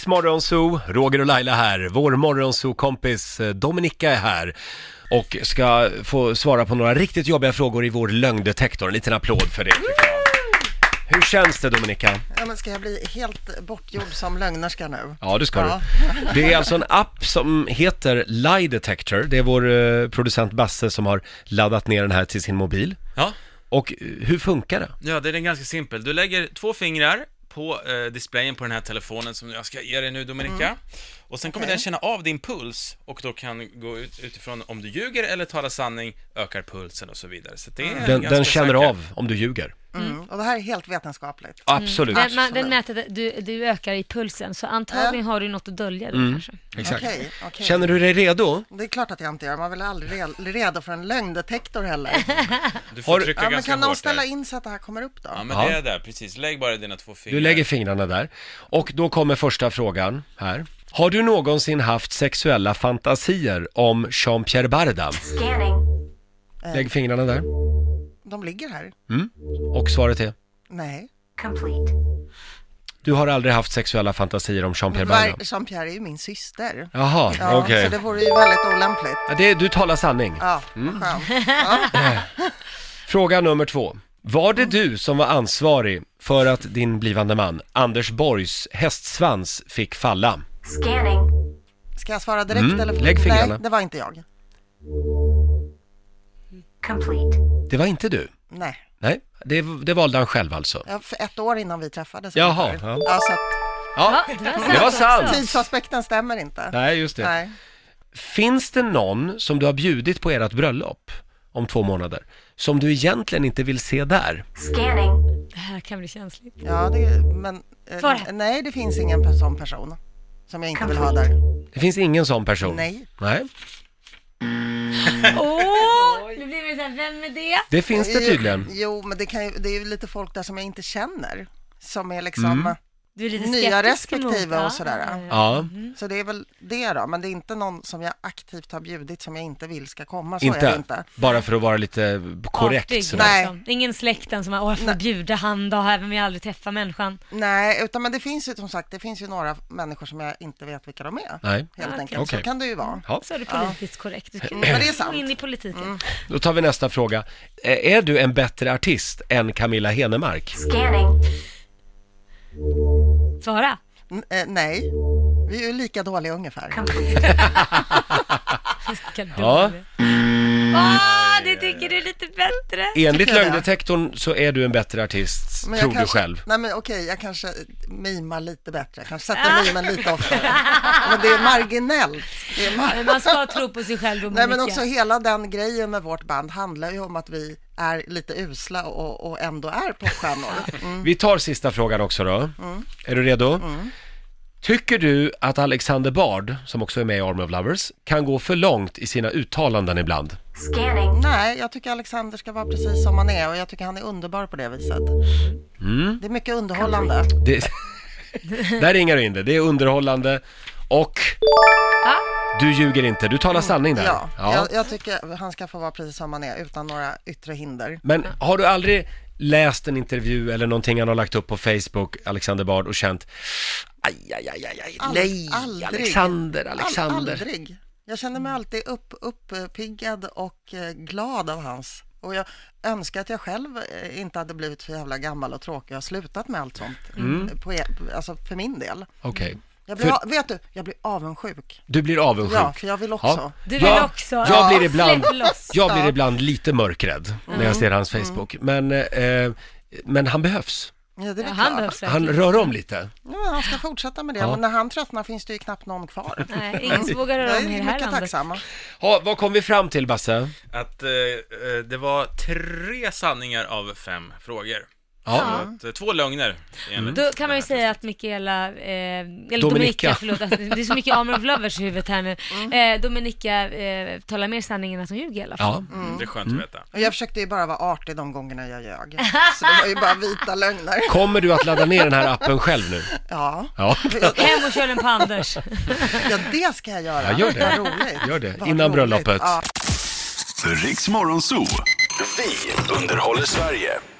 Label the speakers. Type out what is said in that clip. Speaker 1: Riksmorgonzoo, Roger och Laila här. Vår morgonzoo-kompis eh, Dominika är här och ska få svara på några riktigt jobbiga frågor i vår lögndetektor. En liten applåd för det tycker jag. Hur känns det Dominika?
Speaker 2: Ja, men ska jag bli helt bortgjord som lögnerska nu?
Speaker 1: Ja, det ska
Speaker 2: Ja.
Speaker 1: du. Det är alltså en app som heter Lie Detector. Det är vår eh, producent Basse som har laddat ner den här till sin mobil.
Speaker 3: Ja,
Speaker 1: Och eh, hur funkar
Speaker 2: Mm,
Speaker 1: det?
Speaker 3: ja den är ganska simpel. Du lägger två fingrar på eh, displayen på den här telefonen som jag ska ge dig nu Dominika.
Speaker 1: Mm.
Speaker 3: Och sen kommer
Speaker 2: Okej.
Speaker 3: den känna av din puls och då kan gå ut, utifrån om du ljuger eller talar sanning, ökar pulsen och så vidare. Så det är
Speaker 1: Mm. Den,
Speaker 3: ganska
Speaker 1: den känner
Speaker 3: säker.
Speaker 1: av om du ljuger.
Speaker 2: Mm. Och det här är helt vetenskapligt.
Speaker 1: Absolut.
Speaker 4: Den, man, den mäter, det- du, du ökar i pulsen, så antagligen har du något att dölja då
Speaker 1: Mm.
Speaker 4: kanske.
Speaker 1: Exakt.
Speaker 2: Okej, okej.
Speaker 1: Känner du dig redo?
Speaker 2: Det är klart att jag inte gör, man vill aldrig re- redo för en lögndetektor heller.
Speaker 3: Du
Speaker 1: Har
Speaker 3: får
Speaker 1: du-
Speaker 3: trycka
Speaker 2: Ja, men
Speaker 3: ganska
Speaker 2: kan någon
Speaker 3: hårt
Speaker 2: ställa
Speaker 3: där.
Speaker 2: in så att det här kommer upp
Speaker 3: Ja,
Speaker 2: då?
Speaker 3: men
Speaker 1: Ja.
Speaker 3: det är där, precis. Lägg bara dina två fingrar.
Speaker 1: Du lägger fingrarna där. Och då kommer första frågan här. Har du någonsin haft sexuella fantasier om Jean-Pierre Barda?
Speaker 5: Eh. Scanning.
Speaker 1: Lägg fingrarna där.
Speaker 2: De ligger här.
Speaker 1: Och svaret är?
Speaker 2: Nej.
Speaker 5: Complete.
Speaker 1: Du har aldrig haft sexuella fantasier om Jean-Pierre Barda?
Speaker 2: Ver- Jean-Pierre är ju min syster.
Speaker 1: Jaha,
Speaker 2: Ja,
Speaker 1: okej.
Speaker 2: Så det vore ju väldigt olämpligt.
Speaker 1: Ja, det... Du talar sanning.
Speaker 2: Ja,
Speaker 1: Mm.
Speaker 2: vad skönt.
Speaker 1: Fråga nummer två. Var det du som var ansvarig för att din blivande man, Anders Borgs hästsvans, fick falla?
Speaker 5: Scanning.
Speaker 2: Ska jag svara direkt
Speaker 1: Mm,
Speaker 2: eller?
Speaker 1: lägg fingrarna.
Speaker 2: Nej, det var inte jag.
Speaker 5: Complete.
Speaker 1: Det var inte du.
Speaker 2: Nej.
Speaker 1: Nej, det, det valde han själv alltså.
Speaker 2: Ja, för ett år innan vi träffades.
Speaker 1: Jaha,
Speaker 2: ungefär.
Speaker 1: ja.
Speaker 2: Ja, så att
Speaker 1: Ja,
Speaker 4: Ja,
Speaker 1: det var sant.
Speaker 2: tidsaspekten stämmer inte.
Speaker 1: Nej, just det.
Speaker 2: Nej.
Speaker 1: Finns det någon som du har bjudit på ert bröllop om två månader, som du egentligen inte vill se där?
Speaker 5: Scanning.
Speaker 4: Det här kan bli känsligt.
Speaker 2: Ja, det, men... eh,
Speaker 4: Svara.
Speaker 2: nej, det finns ingen pe- sån person som jag inte vill ha där.
Speaker 1: Det finns ingen sån person?
Speaker 2: Nej.
Speaker 1: Nej. Mm.
Speaker 4: Åh, nu blir det såhär, vem är det?
Speaker 1: Det finns det
Speaker 2: Eh,
Speaker 1: tydligen.
Speaker 2: Jo, men det, kan ju, det är ju lite folk där som jag inte känner, som är liksom...
Speaker 1: Mm.
Speaker 4: Du är lite
Speaker 2: Nya
Speaker 4: skeptisk
Speaker 2: respektive
Speaker 4: emot, ja.
Speaker 2: och sådär, ja.
Speaker 4: Ja.
Speaker 1: Ja,
Speaker 2: Så det är väl det då, men det är inte någon som jag aktivt har bjudit som jag inte vill ska komma, så är det
Speaker 1: inte.
Speaker 2: inte.
Speaker 1: Bara för att vara lite korrekt
Speaker 4: Artig,
Speaker 1: sådär.
Speaker 2: Nej.
Speaker 4: liksom. Det är Ingen släkten som har, åh jag får bjuda han då, även om jag aldrig träffar människan.
Speaker 2: Nej, utan men det finns ju som sagt, det finns ju några människor som jag inte vet vilka de är,
Speaker 1: Nej.
Speaker 2: helt
Speaker 4: Okej.
Speaker 2: enkelt.
Speaker 1: Okej.
Speaker 2: Så kan det ju vara.
Speaker 1: Ja,
Speaker 4: Så är du politiskt korrekt. Du kan
Speaker 2: Mm, Men det är
Speaker 4: gå
Speaker 2: sant. Mm.
Speaker 4: in i politiken.
Speaker 1: då tar vi nästa fråga. Eh, Är du en bättre artist än Camilla Henemark?
Speaker 5: Scanning.
Speaker 4: Svara.
Speaker 2: N- eh, nej, vi är ju lika dåliga ungefär.
Speaker 5: Complete.
Speaker 4: Vilka
Speaker 1: Ja.
Speaker 4: dåliga. Ah, det tycker du är lite bättre.
Speaker 1: Enligt
Speaker 2: Tycker jag det.
Speaker 1: lögndetektorn så är du en bättre artist,
Speaker 2: Men jag
Speaker 1: tror du
Speaker 2: kanske,
Speaker 1: själv.
Speaker 2: Nej men okej, jag kanske mimar lite bättre, jag kanske sätter mimen lite oftare. Men det är marginellt. Det är mar-
Speaker 4: Men man ska tro på sig själv och
Speaker 2: Nej men
Speaker 4: Monica.
Speaker 2: också hela den grejen med vårt band handlar ju om att vi är lite usla och, och ändå är popstjärnor. Mm.
Speaker 1: Vi tar sista frågan också då. Är du redo? Tycker du att Alexander Bard, som också är med i Army of Lovers, kan gå för långt i sina uttalanden ibland?
Speaker 5: Scanning.
Speaker 2: Nej, jag tycker Alexander ska vara precis som han är och jag tycker han är underbar på det viset.
Speaker 1: Mm.
Speaker 2: Det är mycket underhållande.
Speaker 1: Det... Där ringar du in det. Det är underhållande och du ljuger inte. Du talar sanning där.
Speaker 2: Mm. Ja,
Speaker 1: Ja.
Speaker 2: Jag, jag tycker han ska få vara precis som han är utan några yttre hinder.
Speaker 1: Men har du aldrig läst en intervju eller någonting han har lagt upp på Facebook, Alexander Bard, och känt aj, aj, aj, aj, aj.
Speaker 2: Ald-
Speaker 1: nej,
Speaker 2: aldrig.
Speaker 1: Alexander,
Speaker 2: Al-
Speaker 1: Alexander.
Speaker 2: aldrig. Jag känner mig alltid upp, uppiggad och eh, glad av hans. Och jag önskar att jag själv eh, inte hade blivit så jävla gammal och tråkig och har slutat med allt sånt. eh, På, e- alltså för min del.
Speaker 1: Okej.
Speaker 2: Jag blir,
Speaker 1: Mm. För-
Speaker 2: a- vet du, jag blir avundsjuk.
Speaker 1: Du blir avundsjuk.
Speaker 2: Ja, för jag vill också.
Speaker 1: Ja.
Speaker 4: Du vill
Speaker 1: Ja,
Speaker 4: också.
Speaker 1: jag blir ibland-
Speaker 4: Släpp loss. Mm.
Speaker 1: Jag blir
Speaker 2: Ja.
Speaker 1: ibland lite mörkrädd när jag ser
Speaker 2: Mm.
Speaker 1: hans Facebook, men, eh, men han behövs.
Speaker 2: Ja, det är
Speaker 4: Ja,
Speaker 2: väl
Speaker 4: han
Speaker 2: klart.
Speaker 4: behövs
Speaker 1: Han
Speaker 4: verkligen.
Speaker 1: rör om lite.
Speaker 2: Ja, men han ska fortsätta med det.
Speaker 1: Ja.
Speaker 2: Men när han tröttnar finns det ju knappt någon kvar.
Speaker 4: Nej, ingen som vågar
Speaker 2: Jag
Speaker 4: röra om i det
Speaker 2: är
Speaker 4: här
Speaker 2: mycket
Speaker 4: landet. Mm.
Speaker 2: tacksamma.
Speaker 1: Ha, vad kom vi fram till Basse?
Speaker 3: Att eh, eh, det var tre sanningar av fem frågor.
Speaker 1: Ja. Mm.
Speaker 3: Så att, eh, Två lögner, enligt
Speaker 4: Då kan man ju säga att Mikaela, eh, eller Dominika,
Speaker 1: Dominika.
Speaker 4: förlåt, att det är så mycket Armor of Lovers i huvudet här nu. Eh, Dominika eh, talar mer sanning än att hon ljuger i alla fall.
Speaker 1: ja.
Speaker 3: Det är skönt
Speaker 1: Mm.
Speaker 3: att veta.
Speaker 2: Och jag försökte ju bara vara artig de gångerna jag ljög. Så det var ju bara vita lögner.
Speaker 1: Kommer du att ladda ner den här appen själv nu?
Speaker 2: Ja,
Speaker 1: Ja,
Speaker 4: Hem och kör den på Anders.
Speaker 2: ja det ska jag göra.
Speaker 1: Ja, gör det.
Speaker 2: Vad roligt.
Speaker 1: Gör det.
Speaker 2: Vad
Speaker 1: Innan
Speaker 2: roligt.
Speaker 1: bröllopet.
Speaker 2: Ja.
Speaker 6: Riks Morgonzoo. Vi underhåller Sverige.